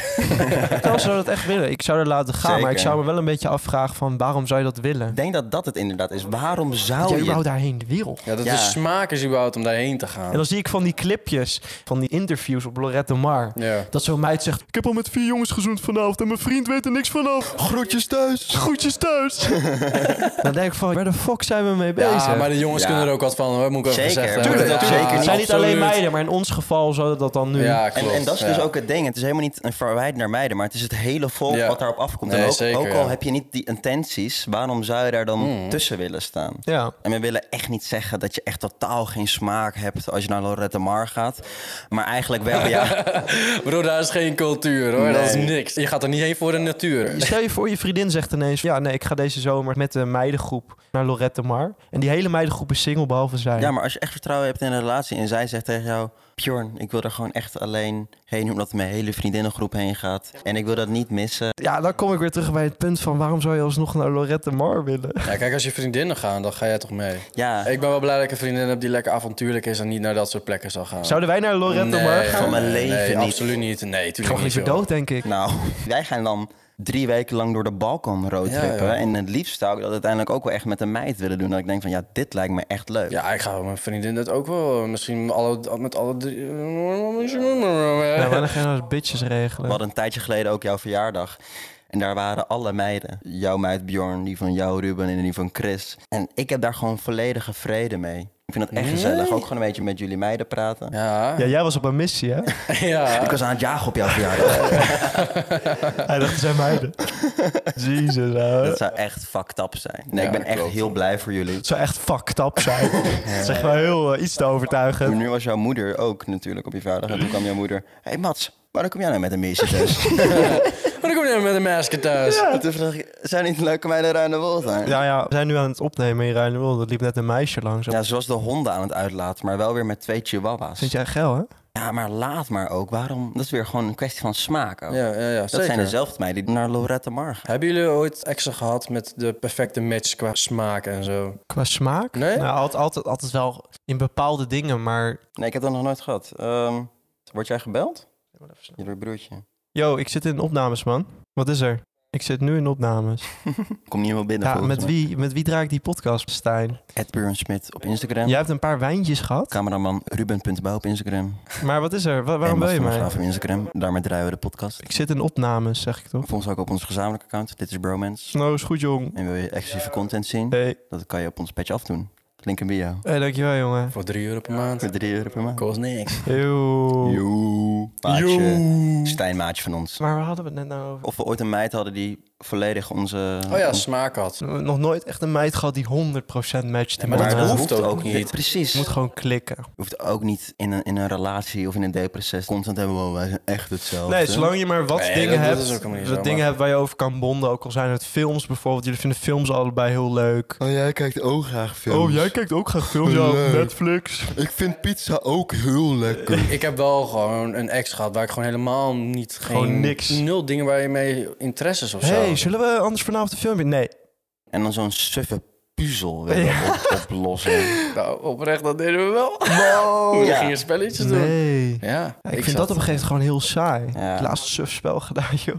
Speaker 2: Als ze dat echt willen, ik zou er laten gaan. Maar ik
Speaker 1: Zeker.
Speaker 2: zou me wel een beetje afvragen van waarom zou je dat willen?
Speaker 1: Ik denk dat dat het inderdaad is. Waarom
Speaker 2: Dat
Speaker 1: zou
Speaker 2: je
Speaker 1: je...
Speaker 2: überhaupt daarheen de wereld.
Speaker 3: Ja, dat
Speaker 1: Ja.
Speaker 3: de smaak is überhaupt om daarheen te
Speaker 2: En
Speaker 3: gaan.
Speaker 2: dan zie ik van die clipjes, van die interviews op Lorette Mar.
Speaker 3: Ja.
Speaker 2: Dat zo'n meid zegt, ik heb al met vier jongens gezoend vanavond en mijn vriend weet er niks vanaf.
Speaker 1: Groetjes thuis!
Speaker 2: Groetjes thuis. dan denk ik van, waar de fuck zijn we mee bezig?
Speaker 3: Ja, maar de jongens
Speaker 1: Ja.
Speaker 3: kunnen er ook wat van, hoor. Moet ik even
Speaker 1: Zeker,
Speaker 3: gezegd hebben.
Speaker 1: tuurlijk,
Speaker 3: Ja,
Speaker 1: tuurlijk.
Speaker 2: het
Speaker 1: zeker
Speaker 2: zijn
Speaker 1: niet,
Speaker 2: niet alleen
Speaker 3: absoluut.
Speaker 2: meiden, maar in ons geval zou dat dan nu...
Speaker 3: Ja,
Speaker 1: En,
Speaker 3: klopt.
Speaker 1: en dat is dus
Speaker 3: ja.
Speaker 1: ook het ding. Het is helemaal niet een verwijt naar meiden, maar het is het hele volk
Speaker 3: Ja.
Speaker 1: wat daarop afkomt. en
Speaker 3: Nee,
Speaker 1: ook,
Speaker 3: zeker,
Speaker 1: ook al
Speaker 3: ja. Hmm.
Speaker 1: heb je niet die intenties, waarom zou je daar dan tussen willen staan?
Speaker 2: Ja.
Speaker 1: En we willen echt niet zeggen dat je echt totaal geen smaak hebt als je naar Lorette Mar gaat. Maar eigenlijk wel, ja.
Speaker 3: Bro, daar is geen cultuur, hoor. Dat is
Speaker 1: Nee.
Speaker 3: niks. Je gaat er niet heen voor de natuur.
Speaker 2: Stel je voor, je vriendin zegt ineens... Ja, nee, ik ga deze zomer met de meidengroep naar Lorette Mar. En die hele meidengroep is single, behalve zij.
Speaker 1: ja, maar als je echt vertrouwen hebt in een relatie en zij zegt tegen jou... Bjorn, ik wil er gewoon echt alleen heen, omdat mijn hele vriendinnengroep heen gaat. En ik wil dat niet missen.
Speaker 2: Ja, dan kom ik weer terug bij het punt van... waarom zou je alsnog naar Lorette Mar willen?
Speaker 3: Ja, kijk, als je vriendinnen gaan, dan ga jij toch mee.
Speaker 1: Ja,
Speaker 3: Ik ben wel blij dat ik een vriendin heb die lekker avontuurlijk is en niet naar dat soort plekken zal gaan.
Speaker 2: Zouden wij naar Lorette Mar gaan?
Speaker 1: Van mijn
Speaker 3: nee,
Speaker 1: leven
Speaker 3: nee,
Speaker 1: niet.
Speaker 3: absoluut niet. Nee,
Speaker 2: Ik ga
Speaker 3: tuurlijk niet.
Speaker 2: liever
Speaker 3: joh.
Speaker 2: dood, denk ik.
Speaker 1: nou, wij gaan dan... Drie weken lang door de Balkan roadtrippen.
Speaker 3: Ja, ja.
Speaker 1: En het liefst zou ik dat uiteindelijk ook wel echt met een meid willen doen. Dat ik denk van, ja, dit lijkt me echt leuk.
Speaker 3: Ja, ik ga met mijn vriendin dat ook wel. eh, Misschien alle, met alle drie.
Speaker 2: Ja, maar dan gaan we als bitches regelen.
Speaker 1: We hadden een tijdje geleden ook jouw verjaardag. En daar waren alle meiden. Jouw meid Bjorn, die van jou Ruben en die van Chris. En ik heb daar gewoon volledige vrede mee. Ik vind dat echt gezellig. Ook gewoon een beetje met jullie meiden praten.
Speaker 3: Ja.
Speaker 2: Ja, jij was op een missie, hè?
Speaker 3: Ja.
Speaker 1: Ik was aan het jagen op jouw verjaardag.
Speaker 2: Hij dacht, het zijn meiden. Jezus, hè.
Speaker 1: dat zou echt fucked up zijn. Nee, ik ben echt
Speaker 3: klopt.
Speaker 1: heel blij voor jullie.
Speaker 2: Het zou echt fucked up zijn. Dat is echt wel heel eh, iets te
Speaker 1: Maar
Speaker 2: overtuigen.
Speaker 1: nu was jouw moeder ook natuurlijk op je verjaardag. En toen kwam jouw moeder... Hé hey Mats, waarom kom jij nou met een meisje thuis?
Speaker 3: Maar dan kom je met een masker thuis.
Speaker 1: En toen vroeg ik, zijn niet leuke meiden ruim de wol zijn?
Speaker 2: Ja, ja, we zijn nu aan het opnemen in Rijnwolde. Dat liep net een meisje langs.
Speaker 1: Ja, ze was de honden aan het uitlaten, maar wel weer met twee chihuahuas.
Speaker 2: Vind jij geil, hè?
Speaker 1: Ja, maar laat maar ook. Waarom? Dat is weer gewoon een kwestie van smaak ook.
Speaker 3: Ja, ja, ja.
Speaker 1: dat
Speaker 3: Zeker.
Speaker 1: zijn dezelfde meiden die naar Lorette Mar gaan.
Speaker 3: Hebben jullie ooit exen gehad met de perfecte match qua smaak en zo?
Speaker 2: Qua smaak?
Speaker 3: Nee?
Speaker 2: Nou, altijd, altijd, altijd wel in bepaalde dingen, maar...
Speaker 1: Nee, ik heb dat nog nooit gehad. Ehm, word jij gebeld? Je broertje.
Speaker 2: Yo, ik zit in opnames, man. Wat is er? Ik zit nu in opnames.
Speaker 1: Kom niet meer binnen
Speaker 2: Ja,
Speaker 1: volgens
Speaker 2: met
Speaker 1: mij.
Speaker 2: wie, met wie draai ik die podcast, Stijn?
Speaker 1: Ed Buren Smit op Instagram.
Speaker 2: Jij hebt een paar wijntjes gehad,
Speaker 1: Cameraman Ruben.bouw op Instagram.
Speaker 2: maar wat is er? Wa- waarom
Speaker 1: En
Speaker 2: wil je
Speaker 1: Mats van
Speaker 2: mij?
Speaker 1: Graaf op Instagram. Daarmee draaien we de podcast.
Speaker 2: Ik zit in opnames, zeg ik toch?
Speaker 1: Volg ons ook op ons gezamenlijke account. Dit is Bromance.
Speaker 2: Nou, is goed, jong.
Speaker 1: En wil je exclusieve content
Speaker 3: Hm.
Speaker 1: zien?
Speaker 2: Hey,
Speaker 1: Dat kan je op ons patch afdoen. Link in bio.
Speaker 2: hey dankjewel, jongen.
Speaker 3: Voor drie euro per maand?
Speaker 1: Met 3 euro per maand.
Speaker 3: Kost niks.
Speaker 2: Yo.
Speaker 1: Joe. Maatje. Stijn maatje van ons.
Speaker 2: Maar waar hadden we het net nou over?
Speaker 1: Of we ooit een meid hadden die volledig onze...
Speaker 3: Oh ja, smaak had.
Speaker 2: Nog nooit echt een meid gehad die 100% matcht.
Speaker 3: Nee, maar dat
Speaker 2: met mij.
Speaker 3: hoeft ook niet.
Speaker 1: Precies.
Speaker 2: Je moet gewoon klikken.
Speaker 1: hoeft ook niet in een, in een relatie of in een dateproces constant hebben. Wow, wij zijn echt hetzelfde.
Speaker 2: Nee, zolang je maar wat
Speaker 3: Nee,
Speaker 2: dingen
Speaker 3: dat- dat
Speaker 2: hebt,
Speaker 3: is ook helemaal niet
Speaker 2: wat
Speaker 3: zo,
Speaker 2: dingen
Speaker 3: maar-
Speaker 2: hebt waar je over kan bonden. Ook al zijn het films bijvoorbeeld. Jullie vinden films allebei heel leuk.
Speaker 1: Oh, jij kijkt ook graag
Speaker 2: Oh, jij kijkt ook graag films ja, op
Speaker 1: Leuk.
Speaker 2: Netflix.
Speaker 1: Ik vind pizza ook heel lekker.
Speaker 3: Ik heb wel gewoon een ex gehad waar ik gewoon helemaal niet...
Speaker 2: Gewoon
Speaker 3: geen-
Speaker 2: niks.
Speaker 3: Nul dingen waar je mee interesses of zo.
Speaker 2: hey, zullen we anders vanavond een filmpje? Nee.
Speaker 1: En dan zo'n suffe puzzel willen op- oplossen.
Speaker 3: Nou, oprecht, dat deden we wel.
Speaker 1: Wow.
Speaker 3: We
Speaker 1: Ja.
Speaker 3: gingen spelletjes doen.
Speaker 2: Nee.
Speaker 3: Ja,
Speaker 2: Ja, ik, vind dat op een gegeven moment gewoon heel saai. Ik
Speaker 1: Ja.
Speaker 2: heb laatst een surfspel gedaan, joh.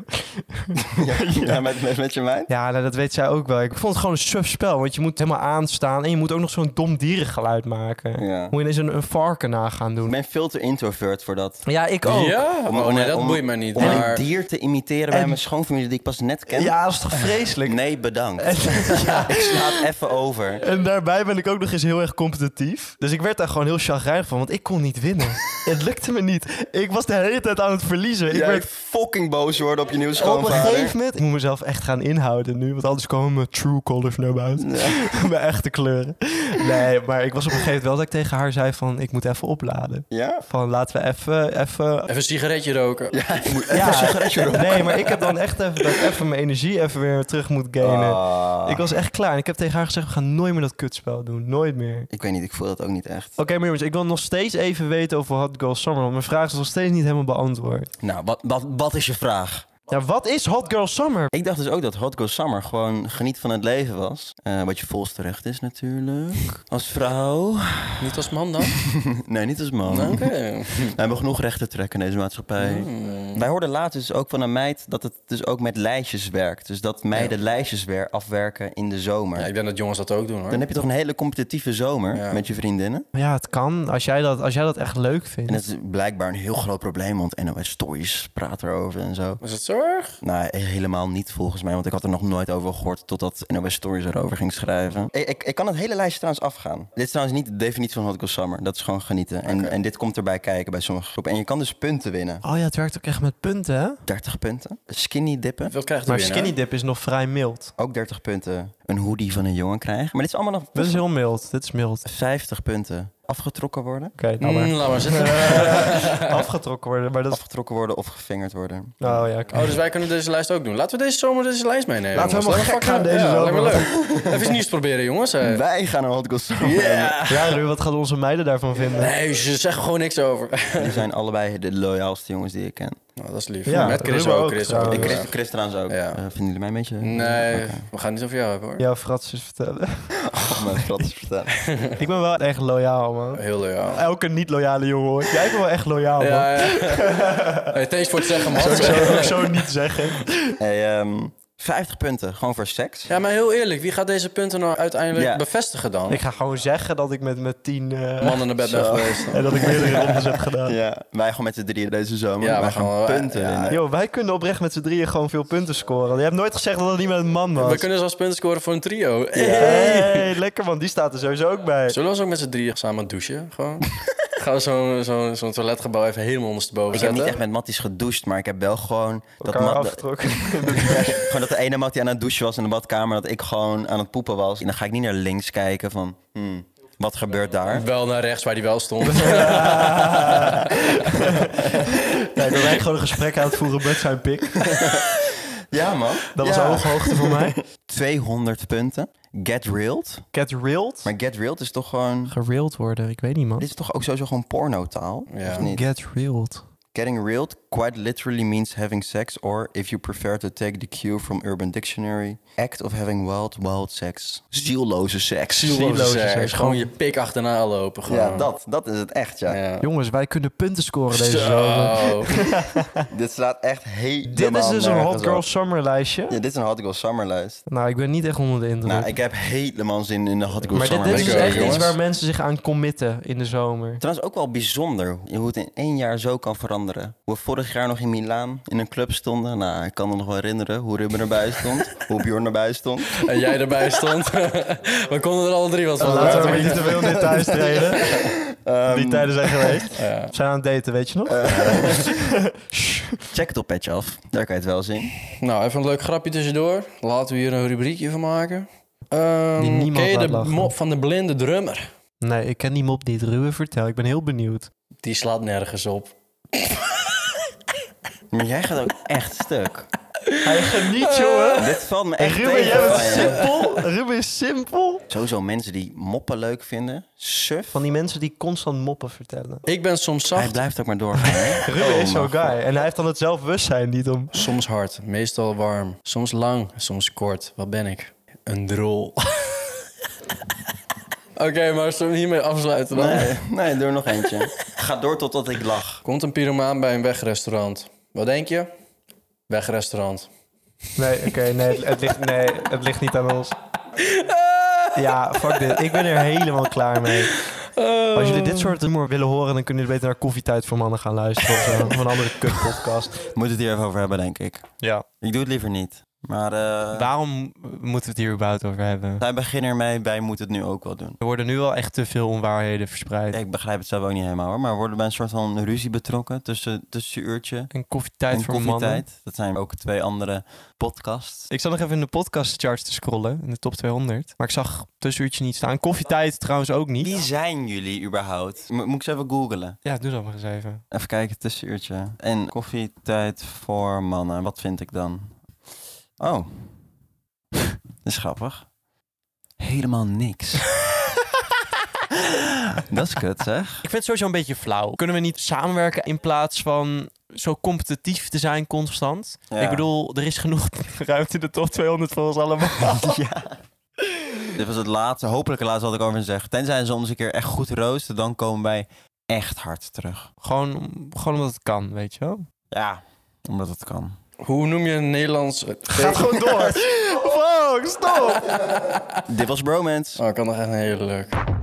Speaker 1: Ja, met, met, met je meid?
Speaker 2: Ja, nou, dat weet zij ook wel. Ik vond het gewoon een surfspel, want je moet helemaal aanstaan... en je moet ook nog zo'n dom dierengeluid maken.
Speaker 1: Ja.
Speaker 2: Moet je ineens een, een varken na gaan
Speaker 1: Ik
Speaker 2: doen.
Speaker 1: ben veel te introvert voor dat.
Speaker 2: Ja, ik ook.
Speaker 3: Ja,
Speaker 1: Om-
Speaker 3: oh
Speaker 1: om-
Speaker 3: nee, dat
Speaker 1: om-
Speaker 3: boeit mij niet.
Speaker 1: Om een
Speaker 3: Maar
Speaker 1: dier te imiteren bij
Speaker 2: En-
Speaker 1: mijn schoonfamilie die ik pas net ken.
Speaker 2: Ja, dat is toch vreselijk?
Speaker 1: Nee, bedankt.
Speaker 2: En, ja.
Speaker 1: Ik sla het even over.
Speaker 2: En daarbij ben ik ook nog eens heel erg competitief. Dus ik werd daar gewoon heel chagrijnig van, want ik kon niet winnen. het lukte me niet. Ik was de hele tijd aan het verliezen. Ik
Speaker 1: Jij
Speaker 2: werd
Speaker 1: fucking boos worden op je nieuwe
Speaker 2: op een
Speaker 1: schoonvader.
Speaker 2: gegeven moment... Ik moet mezelf echt gaan inhouden nu, want anders komen mijn true colors naar buiten. mijn echte kleuren. Nee, maar ik was op een gegeven moment wel dat ik tegen haar zei van... ik moet even opladen.
Speaker 1: Ja?
Speaker 2: Van laten we even... even...
Speaker 3: even een sigaretje roken.
Speaker 1: Ja, ik moet
Speaker 2: Ja,
Speaker 1: even een sigaretje roken.
Speaker 2: Nee, maar ik heb dan echt even... dat ik even mijn energie even weer terug moet gainen.
Speaker 1: Ah.
Speaker 2: Ik was echt klaar. En ik heb tegen haar gezegd... we gaan nooit meer dat kutspel doen. Nooit meer.
Speaker 1: Ik weet niet, ik voel dat ook niet echt.
Speaker 2: Oké, maar jongens, ik wil nog steeds even weten over Hot Girl Summer. Want mijn vraag is nog steeds niet helemaal beantwoord.
Speaker 1: Nou, wat, wat, wat is je vraag?
Speaker 2: Ja, wat is Hot Girl Summer?
Speaker 1: Ik dacht dus ook dat Hot Girl Summer gewoon geniet van het leven was. Eh, wat je volst terecht is natuurlijk. Als vrouw.
Speaker 3: Niet als man dan?
Speaker 1: Nee, niet als man.
Speaker 3: Oké.
Speaker 1: We hebben genoeg rechten te trekken in deze maatschappij.
Speaker 3: Hmm.
Speaker 1: Wij hoorden laatst dus ook van een meid dat het dus ook met lijstjes werkt. Dus dat meiden lijstjes weer afwerken in de zomer.
Speaker 3: Ja, ik denk dat jongens dat ook doen hoor.
Speaker 1: Dan heb je toch een hele competitieve zomer
Speaker 3: Ja.
Speaker 1: met je vriendinnen.
Speaker 2: Ja, het kan. Als jij dat, als jij dat echt leuk
Speaker 1: En
Speaker 2: vindt.
Speaker 1: dat is blijkbaar een heel groot probleem, want NOS Stories praat erover en zo.
Speaker 3: Is het zorg?
Speaker 1: Nou, helemaal niet volgens mij, want ik had er nog nooit over gehoord totdat NOS Stories erover ging schrijven. Ik, ik, ik kan het hele lijstje trouwens afgaan. Dit is trouwens niet de definitie van Hot Girl Summer. Dat is gewoon genieten. En, en dit komt erbij kijken bij sommige groepen. En je kan dus punten winnen.
Speaker 2: Oh ja, het werkt ook echt met punten, hè?
Speaker 1: 30 punten. Skinny dippen.
Speaker 3: Wat krijgt hij
Speaker 2: Maar
Speaker 3: weer, hè?
Speaker 2: Skinny Dip is nog vrij mild.
Speaker 1: Ook 30 punten. Een hoodie van een jongen krijgen. Maar dit is allemaal nog
Speaker 2: Dit is heel mild. Dit is mild.
Speaker 1: 50 punten. Afgetrokken worden.
Speaker 2: Oké, nou
Speaker 3: Mm,
Speaker 2: maar.
Speaker 3: laat maar zitten.
Speaker 2: Afgetrokken worden, maar dat is...
Speaker 1: Afgetrokken worden of gevingerd worden.
Speaker 2: Oh ja, oké.
Speaker 3: Oh, dus wij kunnen deze lijst ook doen. Laten we deze zomer deze lijst meenemen.
Speaker 2: Laten we
Speaker 3: jongens.
Speaker 2: helemaal
Speaker 3: Laten
Speaker 2: gek gaan
Speaker 3: fucking-
Speaker 2: deze
Speaker 3: ja, lijkt me leuk. Even iets nieuws proberen, jongens. eh.
Speaker 1: Wij gaan een Hot Girl Summer.
Speaker 3: Ja.
Speaker 2: Ja, Ruud, wat gaan onze meiden daarvan vinden?
Speaker 3: Nee, ze zeggen gewoon niks over.
Speaker 1: Die zijn allebei de loyaalste jongens die ik ken.
Speaker 3: Nou, dat is lief.
Speaker 2: Ja,
Speaker 3: Met Chris
Speaker 2: Ruben
Speaker 3: ook.
Speaker 2: ook
Speaker 3: Chris ook.
Speaker 2: trouwens.
Speaker 1: Ik
Speaker 3: Oh, Ja.
Speaker 1: Chris, Chris trouwens ook.
Speaker 3: Ja.
Speaker 1: Eh, vinden jullie mij een beetje?
Speaker 3: Nee, we gaan het niet over jou hebben hoor.
Speaker 2: Ja, Frats is vertellen.
Speaker 1: Om mijn verhaal te vertellen.
Speaker 2: Ik ben wel echt loyaal, man.
Speaker 3: Heel loyaal.
Speaker 2: Elke niet-loyale jongen, hoor. Jij bent wel echt loyaal, man.
Speaker 3: Ja, ja. Hey, thanks voor het zeggen, man.
Speaker 2: Zou ik zo, ook zo niet zeggen.
Speaker 1: Hey, ehm, 50 punten, gewoon voor seks.
Speaker 3: Ja, maar heel eerlijk, wie gaat deze punten nou uiteindelijk
Speaker 1: Ja.
Speaker 3: bevestigen dan?
Speaker 2: Ik ga gewoon zeggen dat ik met, met tien... eh,
Speaker 3: Mannen naar bed ben
Speaker 1: Zo.
Speaker 3: geweest.
Speaker 2: en dat ik meerdere rondes heb gedaan.
Speaker 1: Ja, wij gewoon met z'n drieën deze zomer.
Speaker 3: Ja,
Speaker 1: wij
Speaker 3: we
Speaker 1: gaan
Speaker 3: gaan wel-
Speaker 1: punten
Speaker 3: ja,
Speaker 1: winnen.
Speaker 2: Yo, wij kunnen oprecht met z'n drieën gewoon veel punten scoren. Je hebt nooit gezegd dat dat niet met een man was.
Speaker 3: We kunnen zelfs punten scoren voor een trio. Eh,
Speaker 2: Hey, lekker man, die staat er sowieso ook bij.
Speaker 3: Zullen we ons ook met z'n drieën samen douchen? Gewoon. Gaan we zo'n zo'n zo'n toiletgebouw even helemaal ondersteboven
Speaker 1: Ik heb niet
Speaker 3: zetten?
Speaker 1: echt met Matties gedoucht, maar ik heb wel gewoon... Dat
Speaker 2: Elkaar
Speaker 1: Ma-
Speaker 2: afgetrokken.
Speaker 1: gewoon dat de ene Mattie aan het douchen was in de badkamer... dat ik gewoon aan het poepen was. En dan ga ik niet naar links kijken van... hmm, wat gebeurt daar?
Speaker 3: Wel naar rechts waar die wel
Speaker 2: Nee,
Speaker 3: stond.
Speaker 2: dat wij gewoon een gesprek aan het voeren met zijn pik.
Speaker 1: Ja, man.
Speaker 2: Dat was
Speaker 1: Ja.
Speaker 2: een hoge hoogte voor mij.
Speaker 1: 200 punten. Get reeled.
Speaker 2: Get railed.
Speaker 1: Maar get reeled is toch gewoon...
Speaker 2: Gerailed worden, ik weet niet man.
Speaker 1: Dit is toch ook sowieso gewoon pornotaal?
Speaker 3: Ja.
Speaker 1: Of niet?
Speaker 2: Get railed.
Speaker 1: Getting reeled quite literally means having sex... or if you prefer to take the cue from Urban Dictionary... act of having wild, wild sex. Zielloze seks.
Speaker 3: Zielloze
Speaker 2: Zielloze
Speaker 3: seks.
Speaker 2: seks.
Speaker 3: dus, eh, Gewoon je pik achterna lopen. Gewoon.
Speaker 1: Ja, dat, dat is het echt, ja.
Speaker 3: Ja.
Speaker 2: Jongens, wij kunnen punten scoren deze zomer.
Speaker 3: Zo.
Speaker 1: Dit slaat echt helemaal
Speaker 2: Dit is dus een
Speaker 1: nergens op.
Speaker 2: Hot Girl Summer lijstje.
Speaker 1: Ja, dit is een Hot Girl Summer lijst.
Speaker 2: Nou, ik ben niet echt onder de indruk.
Speaker 1: Nou, ik heb helemaal zin in de Hot Girl
Speaker 2: maar dit,
Speaker 1: Summer
Speaker 2: dit is
Speaker 1: lijst.
Speaker 2: dus
Speaker 3: Lekker,
Speaker 2: echt
Speaker 3: jongens.
Speaker 2: iets waar mensen zich aan committen in de zomer.
Speaker 1: Trouwens ook wel bijzonder hoe het in één jaar zo kan veranderen. Hoe we vorig jaar nog in Milaan in een club stonden. Nou, ik kan me nog wel herinneren hoe Ruben erbij stond. hoe Bjorn erbij stond.
Speaker 3: En jij erbij stond. we konden er alle drie wat van.
Speaker 2: Oh, Laten we
Speaker 3: maken.
Speaker 2: maar niet te veel in details treden. Ehm, Die tijden zijn geweest.
Speaker 3: Ja.
Speaker 2: We zijn aan het daten, weet je nog?
Speaker 1: Check het op Petje Af. Daar kan je het wel zien.
Speaker 3: Nou, even een leuk grapje tussendoor. Laten we hier een rubriekje van maken. Ehm,
Speaker 2: Die niemand
Speaker 3: ken je
Speaker 2: laat
Speaker 3: de
Speaker 2: lachen.
Speaker 3: mop van de blinde drummer?
Speaker 2: Nee, ik ken die mop niet. Ruwe, vertel. Ik ben heel benieuwd.
Speaker 3: Die slaat nergens op.
Speaker 1: Maar jij gaat ook echt stuk.
Speaker 2: Hij geniet, jongen.
Speaker 1: Dit valt me echt
Speaker 2: Ruben, jij
Speaker 1: tegen.
Speaker 2: bent
Speaker 1: van je.
Speaker 2: simpel. Ruben is simpel.
Speaker 1: Sowieso mensen die moppen leuk vinden. Suf.
Speaker 2: Van die mensen die constant moppen vertellen.
Speaker 3: Ik ben soms
Speaker 1: Hij
Speaker 3: zacht,
Speaker 1: blijft ook maar doorgaan. hè?
Speaker 2: Ruben
Speaker 1: Oh,
Speaker 2: is zo'n
Speaker 1: mijn
Speaker 2: guy. En hij heeft dan het zelfbewustzijn niet om...
Speaker 3: soms hard, meestal warm, soms lang, soms kort. Wat ben ik? Een drol. Oké, maar zullen we hiermee afsluiten dan?
Speaker 1: Nee, nee, doe er nog eentje. Ga door totdat ik lach.
Speaker 3: Komt een pyromaan bij een wegrestaurant. Wat denk je? Wegrestaurant.
Speaker 2: Nee, oké, nee, het- het ligt, nee, het ligt niet aan ons. Ja, fuck dit. Ik ben er helemaal klaar mee. Als jullie dit soort humor willen horen, dan kunnen jullie beter naar Koffietijd voor Mannen gaan luisteren. Of, zo, of een andere kut podcast.
Speaker 1: Moet het hier even over hebben, denk ik.
Speaker 2: Ja.
Speaker 1: Ik doe het liever niet. Maar eh
Speaker 4: Waarom moeten we het hier überhaupt over hebben?
Speaker 1: zij beginnen ermee, wij moeten het nu ook wel doen.
Speaker 4: Er worden nu wel echt te veel onwaarheden verspreid.
Speaker 1: Ik begrijp het zelf ook niet helemaal hoor, maar worden bij een soort van ruzie betrokken tussen, tussen uurtje
Speaker 4: Een koffietijd
Speaker 1: en
Speaker 4: voor mannen.
Speaker 1: koffietijd. Dat zijn ook twee andere podcasts.
Speaker 4: Ik zat nog even in de podcastcharts te scrollen, in de top 200. Maar ik zag tussenuurtje niet staan. Koffietijd trouwens ook
Speaker 1: Wie
Speaker 4: niet.
Speaker 1: zijn jullie überhaupt? Mo- moet ik ze even googlen?
Speaker 4: Ja, doe dat maar eens even.
Speaker 1: Even kijken, tussenuurtje. En koffietijd voor mannen, wat vind ik dan? Oh, dat is grappig. Helemaal niks. dat is kut zeg.
Speaker 4: Ik vind het sowieso een beetje flauw. Kunnen we niet samenwerken in plaats van zo competitief te zijn constant?
Speaker 1: Ja.
Speaker 4: Ik bedoel, er is genoeg ruimte in de top 200 voor ons allemaal.
Speaker 1: Dit was het laatste, hopelijk het laatste wat ik over zeg. Tenzij ze ons een keer echt goed roosten, dan komen wij echt hard terug.
Speaker 4: gewoon, om- gewoon omdat het kan, weet je wel?
Speaker 1: Ja, omdat het kan.
Speaker 3: Hoe noem je een Nederlands...
Speaker 2: Gaat gewoon door. Fuck, stop.
Speaker 1: Dit was Bromance.
Speaker 3: Oh, ik kan nog echt een hele leuk.